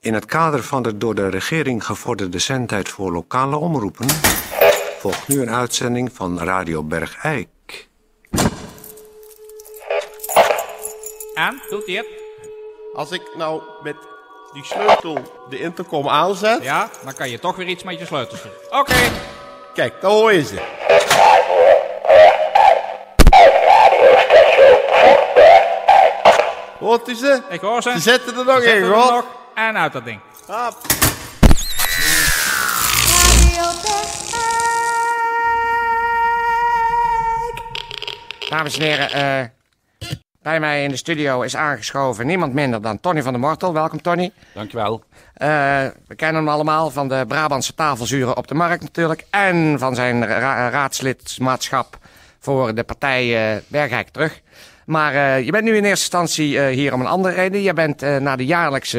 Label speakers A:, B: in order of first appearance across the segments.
A: In het kader van de door de regering gevorderde zendtijd voor lokale omroepen volgt nu een uitzending van Radio Bergijk.
B: Aan, doet hij het?
C: Als ik nou met die sleutel de intercom aanzet.
B: Ja, dan kan je toch weer iets met je sleutels doen. Oké.
C: Kijk, dan hoor je ze. Hoort u ze?
B: Ik hoor ze.
C: Ze zetten er nog
B: Zet
C: één,
B: hem er
C: hoor.
B: nog En uit dat ding.
C: Hap.
D: Dames en heren, eh, bij mij in de studio is aangeschoven niemand minder dan Tony van der Mortel. Welkom, Tony.
E: Dankjewel.
D: Eh, we kennen hem allemaal van de Brabantse tafelzuren op de markt natuurlijk. En van zijn ra- raadslidmaatschap voor de partij eh, Bergijk terug. Maar eh, je bent nu in eerste instantie eh, hier om een andere reden. Je bent eh, naar de jaarlijkse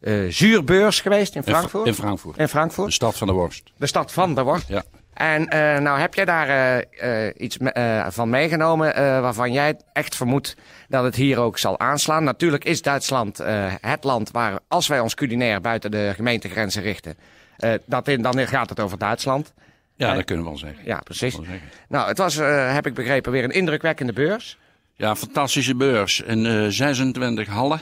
D: eh, eh, zuurbeurs geweest in
E: In Fra-
D: Frankfurt.
E: in Frankfurt.
D: In
E: De
D: Frankfurt,
E: stad van de worst.
D: de stad van de worst.
E: Ja.
D: En eh, nou heb jij daar eh, eh, iets me- eh, van meegenomen eh, waarvan jij echt vermoedt dat het hier ook zal aanslaan. Natuurlijk is Duitsland eh, het land waar, als wij ons culinair buiten de gemeentegrenzen richten, eh, dat in, dan gaat het over Duitsland.
E: Ja,
D: En-
E: dat kunnen we wel zeggen.
D: Ja, precies.
E: Dat kan ik wel
D: Nou, het was, eh, heb ik begrepen, weer een indrukwekkende beurs.
E: Ja, fantastische beurs. En eh 26 hallen.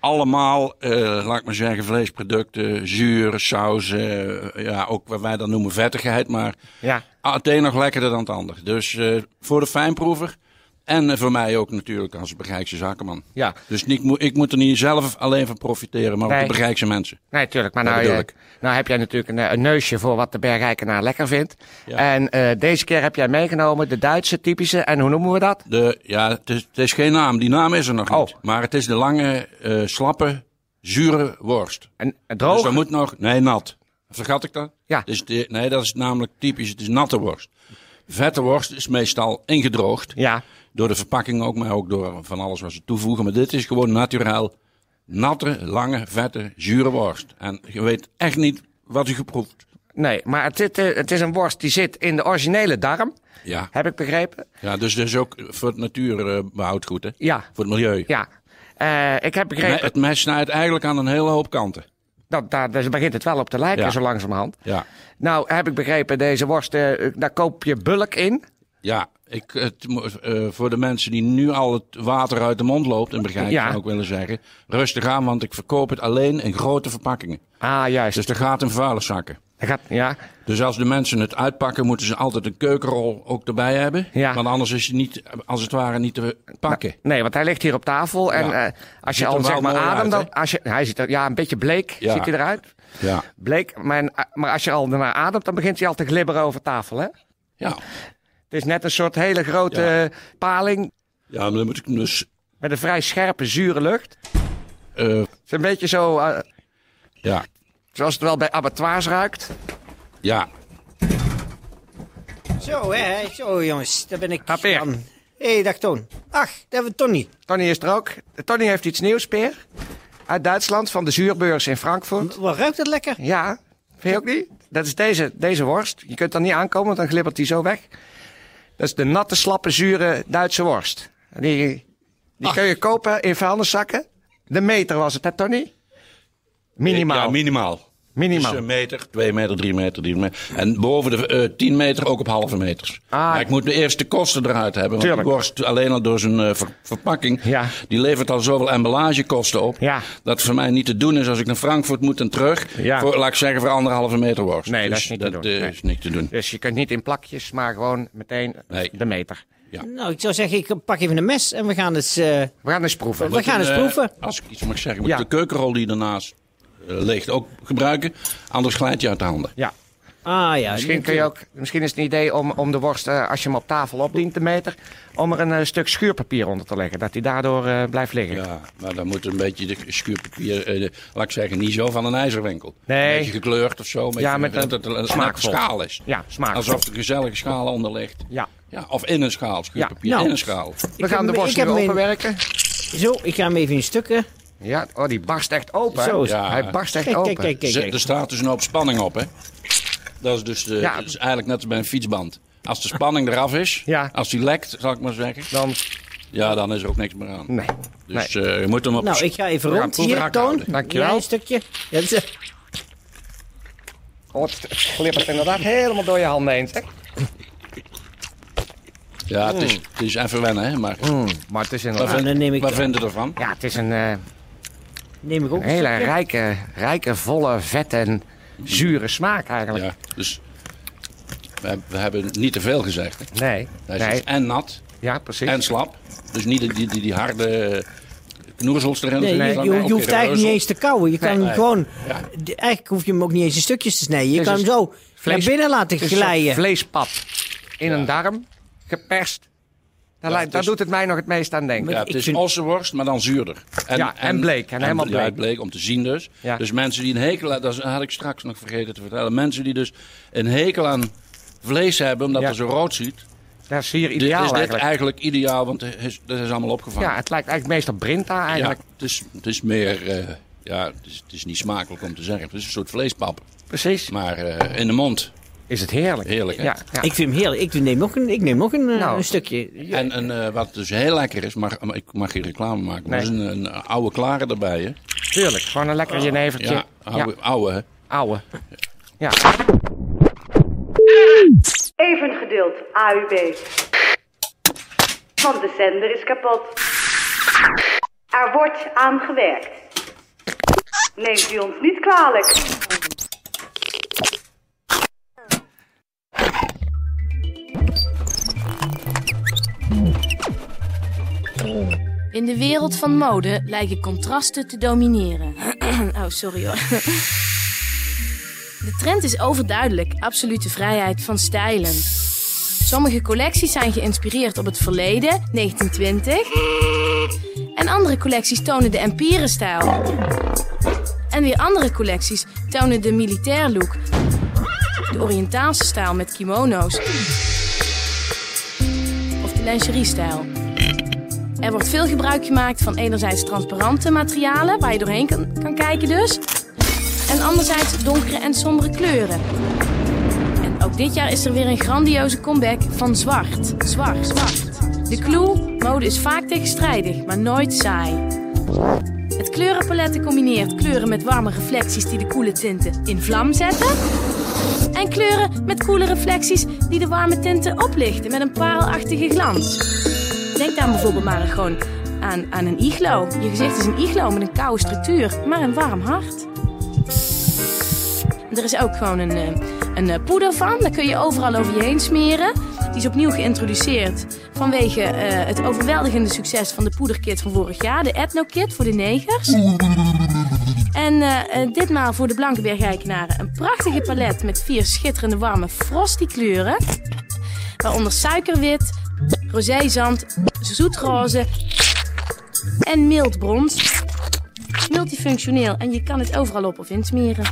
E: Allemaal, eh, laat ik maar zeggen, vleesproducten, zuur, sauzen. eh, ja, ook wat wij dan noemen vettigheid. Maar
D: Ja.
E: ah, het een nog lekkerder dan het ander. Dus eh, voor de fijnproever. En eh, voor mij ook natuurlijk als Bergijkse zakenman.
D: Ja.
E: Dus niet, mo- ik moet er niet zelf alleen van profiteren, maar
D: Nee.
E: ook de Bergijkse mensen.
D: Nee, tuurlijk. Maar
E: Dat
D: nou,
E: bedoel
D: eh,
E: ik.
D: nou heb jij natuurlijk een, eh, een neusje voor wat de Bergrijkenaar lekker vindt.
E: Ja.
D: En eh, deze keer heb jij meegenomen de Duitse typische, en hoe noemen we dat?
E: De, ja, het is, het is geen naam. Die naam is er nog
D: Oh.
E: niet. Maar het is de lange, eh, slappe, zure worst.
D: Een, een
E: Dus
D: droge.
E: dat moet nog... Nee, nat. Vergat ik dat?
D: Ja.
E: Het is de- nee, dat is namelijk typisch. Het is natte worst. Vette worst is meestal ingedroogd.
D: Ja.
E: Door de verpakking ook, maar ook door van alles wat ze toevoegen. Maar dit is gewoon natuurlijk natte, lange, vette, zure worst. En je weet echt niet wat u geproefd.
D: Nee, maar het, zit, eh, het is een worst die zit in de originele darm.
E: Ja.
D: Heb ik begrepen?
E: ja, dus dat is ook voor het natuurbehoud goed, hè?
D: Ja.
E: Voor het milieu.
D: Ja. Eh, ik heb
E: Me-
D: begrepen.
E: het mes snijdt eigenlijk aan een hele hoop kanten.
D: dat, daar dus begint het wel op te lijken,
E: Ja.
D: zo langzamerhand.
E: Ja.
D: Nou, heb ik begrepen, deze worst, eh, daar koop je bulk in.
E: Ja, ik, het, mo- eh, voor de mensen die nu al het water uit de mond loopt, en begrijp ik
D: Ja.
E: zou ik willen zeggen, rustig aan, want ik verkoop het alleen in grote verpakkingen.
D: Ah, juist.
E: Dus er gaat in vuilniszakken.
D: Dat gaat, ja.
E: Dus als de mensen het uitpakken, moeten ze altijd een keukenrol ook erbij hebben.
D: Ja.
E: Want anders is het niet, als het ware, niet te pakken.
D: Nee, want hij ligt hier op tafel. En
E: Ja.
D: eh, als je
E: Ziet er
D: al
E: wel
D: zeg maar
E: mooi
D: adem,
E: uit,
D: dan.
E: hè?
D: Als je, hij ziet er ja, een beetje bleek
E: Ja.
D: ziet hij eruit.
E: Ja.
D: Bleek, maar, eh, maar als je al daarna ademt, dan begint hij al te glibberen over tafel. Hè?
E: Ja.
D: Het is net een soort hele grote eh, paling
E: Ja, maar dan moet ik dus...
D: met een vrij scherpe, zure lucht.
E: eh,
D: Het is een beetje zo, eh,
E: ja.
D: zoals het wel bij abattoirs ruikt.
E: Ja.
F: Zo, hè, zo jongens, daar ben ik
D: Ah, Peer.
F: dan. Hé, hey, dag Toon. Ach, daar hebben we Tony.
D: Tony is er ook. Tony heeft iets nieuws, Peer. Uit Duitsland, van de zuurbeurs in Frankfurt.
F: Wat ruikt het lekker?
D: Ja, vind je ook niet? Dat is deze, deze worst. Je kunt er niet aankomen, want dan glibbert die zo weg. Dat is de natte, slappe, zure Duitse worst. Die, die kun je kopen in vuilniszakken. De meter was het, hè Tony? Minimaal.
E: Ja, minimaal.
D: Minimaal.
E: Dus een meter, twee meter, drie meter, drie meter. En boven de eh, tien meter ook op halve meters.
D: Ah.
E: Maar ik moet de eerste kosten eruit hebben. Want
D: Tuurlijk.
E: die worst alleen al door zijn eh, ver- verpakking,
D: Ja.
E: die levert al zoveel emballagekosten op.
D: Ja.
E: Dat voor mij niet te doen is als ik naar Frankfurt moet en terug.
D: Ja.
E: Voor, laat ik zeggen, voor anderhalve meter worst.
D: Nee,
E: Dus
D: dat is niet te doen.
E: eh,
D: Nee.
E: is niet te doen.
D: Dus je kunt niet in plakjes, maar gewoon meteen
E: Nee.
D: de meter.
F: Nou, ik zou zeggen, ik pak even een mes en we gaan eens... eh,
D: We gaan eens proeven.
F: we gaan eens
E: Eh,
F: proeven.
E: als ik iets mag zeggen, moet
D: Ja.
E: ik de keukenrol die ernaast eh, ligt ook gebruiken. Anders glijdt je uit de handen.
D: Ja,
F: Ah ja.
D: Misschien, kun je ook, misschien is het een idee om, om de worst, eh, als je hem op tafel opdient, de meter, om er een eh, stuk schuurpapier onder te leggen. Dat hij daardoor eh, blijft liggen.
E: Ja, maar dan moet een beetje de schuurpapier, eh, de- laat ik zeggen, niet zo van een ijzerwinkel.
D: Nee.
E: Een beetje gekleurd of zo. Een beetje,
D: Ja, met een-
E: dat het een
D: smaakvol.
E: schaal is.
D: Ja, smaakvol.
E: Alsof er gezellige schaal onder ligt.
D: Ja.
E: ja. Of in een schaal, schuurpapier
F: Ja. Nou.
E: in een schaal.
D: We gaan de worst nu openwerken.
F: Zo, ik ga hem even in stukken.
D: Ja, oh, die barst echt open. hè?
F: Zo is
E: het. Ja.
D: Hij barst echt
F: Kijk,
D: open.
F: kijk, kijk, kijk.
E: Zet-
F: kijk.
E: Er staat dus een hoop spanning op, hè. Dat is dus de,
D: Ja.
E: dat is eigenlijk net als bij een fietsband. Als de spanning eraf is,
D: Ja.
E: als die lekt, zal ik maar zeggen,
D: Dan,
E: Ja, dan is er ook niks meer aan.
D: Nee.
E: Dus eh, je moet hem op...
F: Nou, ik ga even
E: Ja,
F: rond
E: proef
F: hier,
E: raak
F: Toon.
E: houden.
D: Dankjewel.
F: Ja, een stukje. Ja, dat is- eh,
D: Oh, het glippert inderdaad helemaal door je handen heen. zeg.
E: Ja, het is, het is even wennen, hè. Maar
D: Maar het is
E: wat,
D: inderdaad...
E: vind,
F: Mm. dan neem ik-
E: wat vindt u ervan?
D: Ja, het is een, eh,
F: neem ik ook
D: een
F: een
D: hele
F: stukje.
D: rijke, rijke, volle, vette en zure smaak eigenlijk.
E: Ja, dus we, heb- we hebben niet te veel gezegd. Hè.
D: Nee,
E: Hij
D: nee.
E: is en nat
D: Ja, precies.
E: en slap. Dus niet die, die, die, die harde knoezels erin.
F: Nee,
E: zitten.
F: je, je, je
E: Ook
F: hoeft
E: geen
F: eigenlijk niet
E: reuzel.
F: eens te kauwen. Je kan hem
E: nee.
F: gewoon...
E: Ja.
F: d- Eigenlijk hoef je hem ook niet eens in stukjes te snijden. Je
D: Dus
F: kan hem
D: is
F: zo
D: vlees-
F: naar binnen laten
D: Het is een soort
F: glijden.
D: vleespap in een darm, geperst. Daar, lijkt-
E: het
D: daar
E: is-
D: doet het mij nog het meest aan denken.
E: Ja,
F: Ik
E: het is
F: vind-
E: ossenworst, maar dan zuurder.
D: Ja, en bleek, en helemaal
E: Ja,
D: bleek.
E: bleek, om te zien dus.
D: Ja.
E: Dus mensen die een hekel aan... Dat had ik straks nog vergeten te vertellen. Mensen die dus een hekel aan vlees hebben, omdat
D: Ja.
E: het er zo rood ziet.
D: Dat is hier
E: Dit, is dit
D: ideaal
E: eigenlijk.
D: eigenlijk.
E: ideaal, want het is, dat is allemaal opgevangen.
D: Ja, het lijkt eigenlijk meest op Brinta eigenlijk.
E: Ja, het, is, het is meer... eh, ja, het is, het is niet smakelijk om te zeggen. Het is een soort vleespap.
D: Precies.
E: Maar eh, in de mond.
D: Is het heerlijk.
E: Heerlijk, hè?
D: Ja, ja.
F: Ik vind hem heerlijk. Ik neem nog een, ik neem nog een, eh,
D: Nou.
F: een stukje.
E: En, en eh, wat dus heel lekker is, maar, maar ik mag geen reclame maken, maar er
D: Nee.
E: is een, een oude klare erbij, hè?
D: Tuurlijk, gewoon een lekker jenevertje.
E: Ah,
D: Ja,
E: Ja, oude, oude hè?
D: ouwe. Ja,
G: Even geduld, AUB. Want de zender is kapot. Er wordt aan gewerkt. Neemt u ons niet kwalijk.
H: In de wereld van mode lijken contrasten te domineren. oh, sorry hoor. De trend is overduidelijk absolute vrijheid van stijlen. Sommige collecties zijn geïnspireerd op het verleden, 1920. En andere collecties tonen de empirenstijl. En weer andere collecties tonen de militair look. De Oriëntaalse stijl met kimono's. Of de lingerie-stijl. Er wordt veel gebruik gemaakt van enerzijds transparante materialen, waar je doorheen kan, kan kijken dus. En anderzijds donkere en sombere kleuren. En ook dit jaar is er weer een grandioze comeback van zwart. Zwart, zwart. De clue, mode is vaak tegenstrijdig, maar nooit saai. Het kleurenpalet combineert kleuren met warme reflecties die de koele tinten in vlam zetten. En kleuren met koele reflecties die de warme tinten oplichten met een parelachtige glans. Denk dan bijvoorbeeld maar gewoon aan, aan een iglo. Je gezicht is een iglo met een koude structuur, maar een warm hart. Er is ook gewoon een, eh, een eh, poeder van. Daar kun je overal over je heen smeren. Die is opnieuw geïntroduceerd vanwege eh, het overweldigende succes van de poederkit van vorig jaar. De Ethno-kit voor de negers. En eh, eh, ditmaal voor de blanke bergijkenaren een prachtige palet met vier schitterende warme frosty kleuren. Waaronder suikerwit, rozeezand, zoetroze en mild brons. Multifunctioneel en je kan het overal op of insmeren.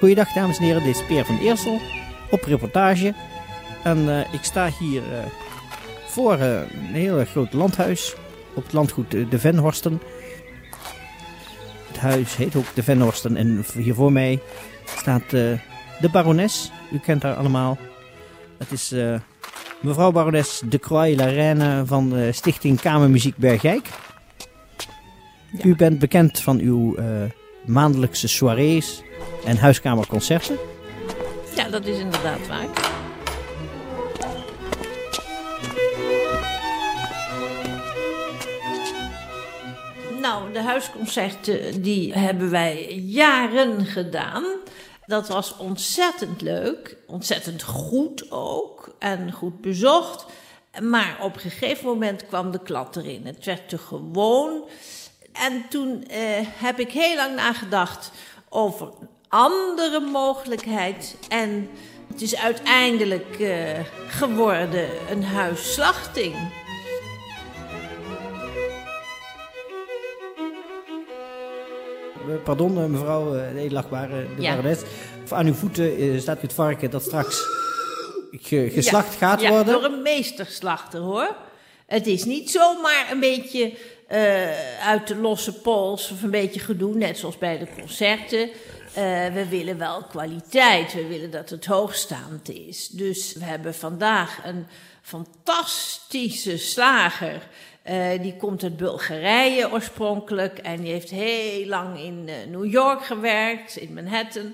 F: Goeiedag dames en heren, dit is Peer van Eersel op reportage. En eh, ik sta hier eh, voor eh, een heel groot landhuis op het landgoed eh, De Venhorsten. Het huis heet ook De Venhorsten en hier voor mij staat eh, de barones. U kent haar allemaal. Het is eh, mevrouw barones de Croix La Reine van de Stichting Kamermuziek Bergijk. U bent bekend van uw eh, maandelijkse soirées en huiskamerconcerten.
I: Ja, dat is inderdaad waar. Nou, de huisconcerten eh, die hebben wij jaren gedaan. Dat was ontzettend leuk, ontzettend goed ook en goed bezocht. Maar op een gegeven moment kwam de klad erin. Het werd te gewoon. En toen eh, heb ik heel lang nagedacht over een andere mogelijkheid. En het is uiteindelijk eh, geworden een huisslachting.
F: We pardon eh, mevrouw, eh, de edelachtbare, de
H: Ja.
F: barones. Of aan uw voeten eh, staat het varken dat straks ge- geslacht
H: Ja,
F: gaat
H: ja,
F: worden.
H: door een meesterslachter hoor. Het is niet zomaar een beetje eh, uit de losse pols of een beetje gedoe, net zoals bij de concerten. Eh, we willen wel kwaliteit, we willen dat het hoogstaand is. Dus we hebben vandaag een fantastische slager. Eh, die komt uit Bulgarije oorspronkelijk en die heeft heel lang in eh, New York gewerkt, in Manhattan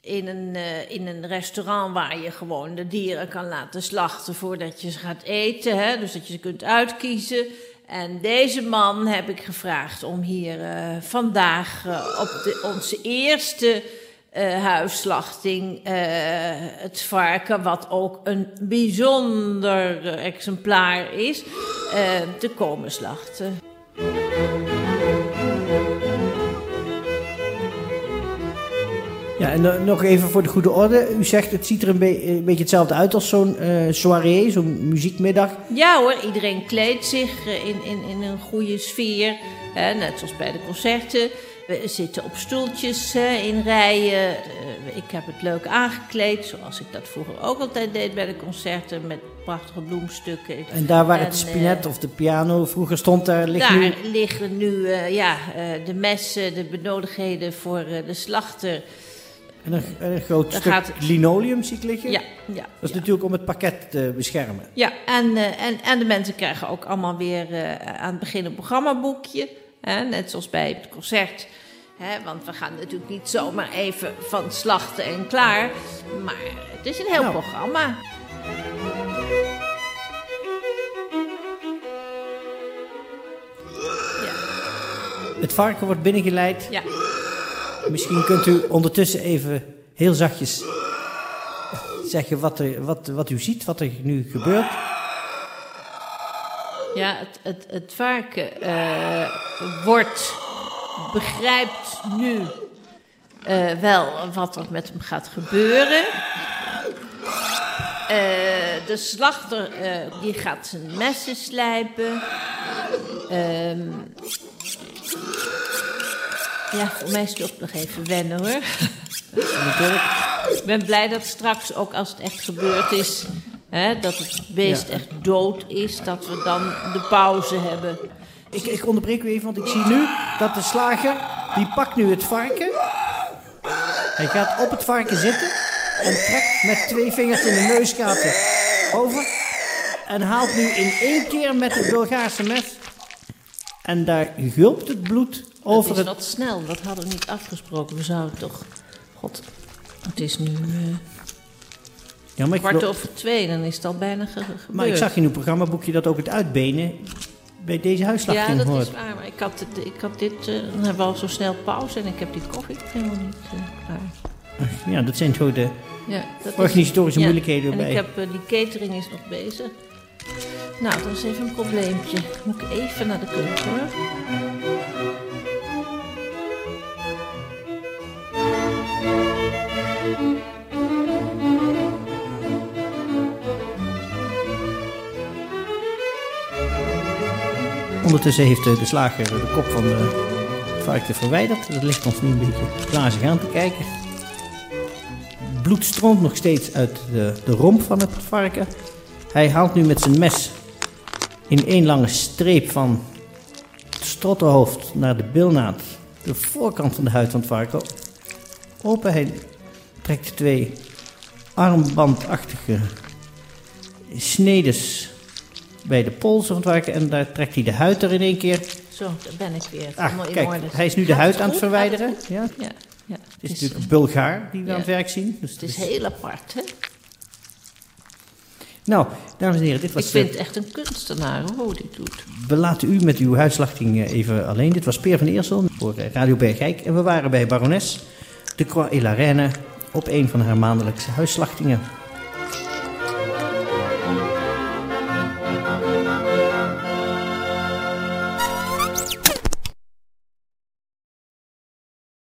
H: in een, eh, in een restaurant waar je gewoon de dieren kan laten slachten voordat je ze gaat eten. Hè? Dus dat je ze kunt uitkiezen. En deze man heb ik gevraagd om hier eh, vandaag eh, op de, onze eerste eh, huisslachting eh, het varken, wat ook een bijzonder eh, exemplaar is, eh, te komen slachten.
F: Ja, en eh, nog even voor de goede orde. U zegt het ziet er een, be- een beetje hetzelfde uit als zo'n eh, soirée, zo'n muziekmiddag.
H: Ja hoor, iedereen kleedt zich eh, in, in, in een goede sfeer. hè, net zoals bij de concerten. We zitten op stoeltjes eh, in rijen. Eh, ik heb het leuk aangekleed, zoals ik dat vroeger ook altijd deed bij de concerten. Met prachtige bloemstukken.
F: En daar waar het
H: En, eh,
F: spinet of de piano vroeger stond, daar ligt nu...
H: daar liggen nu eh, ja, eh, de messen, de benodigdheden voor eh, de slachter.
F: En een, en een groot
H: Daar
F: stuk
H: gaat het.
F: linoleum zie ik liggen.
H: Ja, ja.
F: Dat is natuurlijk om het pakket te beschermen.
H: Ja, en, eh, en, en de mensen krijgen ook allemaal weer eh, aan het begin een programmaboekje. Hè, net zoals bij het concert. Hè, want we gaan natuurlijk niet zomaar even van slachten en klaar. Maar het is een heel
F: Nou.
H: programma.
F: Het varken wordt binnengeleid.
H: Ja.
F: Misschien kunt u ondertussen even heel zachtjes zeggen wat, er, wat, wat u ziet, wat er nu gebeurt.
H: Ja, het, het, het varken eh, wordt, begrijpt nu eh, wel wat er met hem gaat gebeuren. Eh, de slachter eh, die gaat zijn messen slijpen. Ehm, ja, voor mij is het ook nog even wennen hoor. Ik ben blij dat straks ook als het echt gebeurd is, hè, dat het beest
F: Ja.
H: echt dood is, dat we dan de pauze hebben.
F: Ik, ik onderbreek u even, want ik zie nu dat de slager, die pakt nu het varken. Hij gaat op het varken zitten en trekt met twee vingers in de neusgaten over. En haalt nu in één keer met het Bulgaarse mes. En daar gulpt het bloed over
H: dat
F: het
H: is wat snel, dat hadden we niet afgesproken. We zouden toch... God, het is nu eh,
F: Ja, maar ik
H: kwart
F: wil-
H: over twee, dan is het al bijna ge- gebeurd.
F: Maar ik zag in uw programmaboekje dat ook het uitbenen bij deze
H: Ja,
F: huisslachting
H: dat
F: hoort.
H: is waar, maar ik had, dit- ik had dit... eh, dan hebben we al zo snel pauze en ik heb die koffie helemaal niet eh, klaar.
F: Ja, dat zijn zo de...
H: Ja, dat is-
F: Organisatorische moeilijkheden
H: En
F: erbij.
H: ik heb, eh, die catering is nog bezig. Nou, dat is even een probleempje. Moet ik even naar de keuken hoor.
F: Ondertussen heeft eh, de slager de kop van de varken verwijderd. Dat ligt ons nu een beetje glazig aan te kijken. Bloed stroomt nog steeds uit de, de romp van het varken. Hij haalt nu met zijn mes in één lange streep van het strottenhoofd naar de bilnaad de voorkant van de huid van het varken open. Hij trekt twee armbandachtige snedes bij de polsen van het varken en daar trekt hij de huid er in één keer.
H: Zo, daar ben ik weer. Helemaal
F: Ah,
H: in
F: kijk,
H: orde.
F: hij is nu de
H: Gaat
F: huid
H: het
F: aan het
H: goed? Gaat
F: verwijderen. Ja, het
H: goed? Ja, ja.
F: is
H: Het is,
F: natuurlijk een Bulgaar die we
H: ja.
F: aan het werk zien. Dus
H: het is
F: dat is-
H: heel apart, hè?
F: Nou, dames en heren, dit was... eh,
H: Ik vind het echt een kunstenaar hoe dit doet.
F: We laten u met uw huisslachting eh, even alleen. Dit was Peer van Eersel voor eh, Radio Bergijk. En we waren bij barones de Croix et la Reine op een van haar maandelijkse huisslachtingen.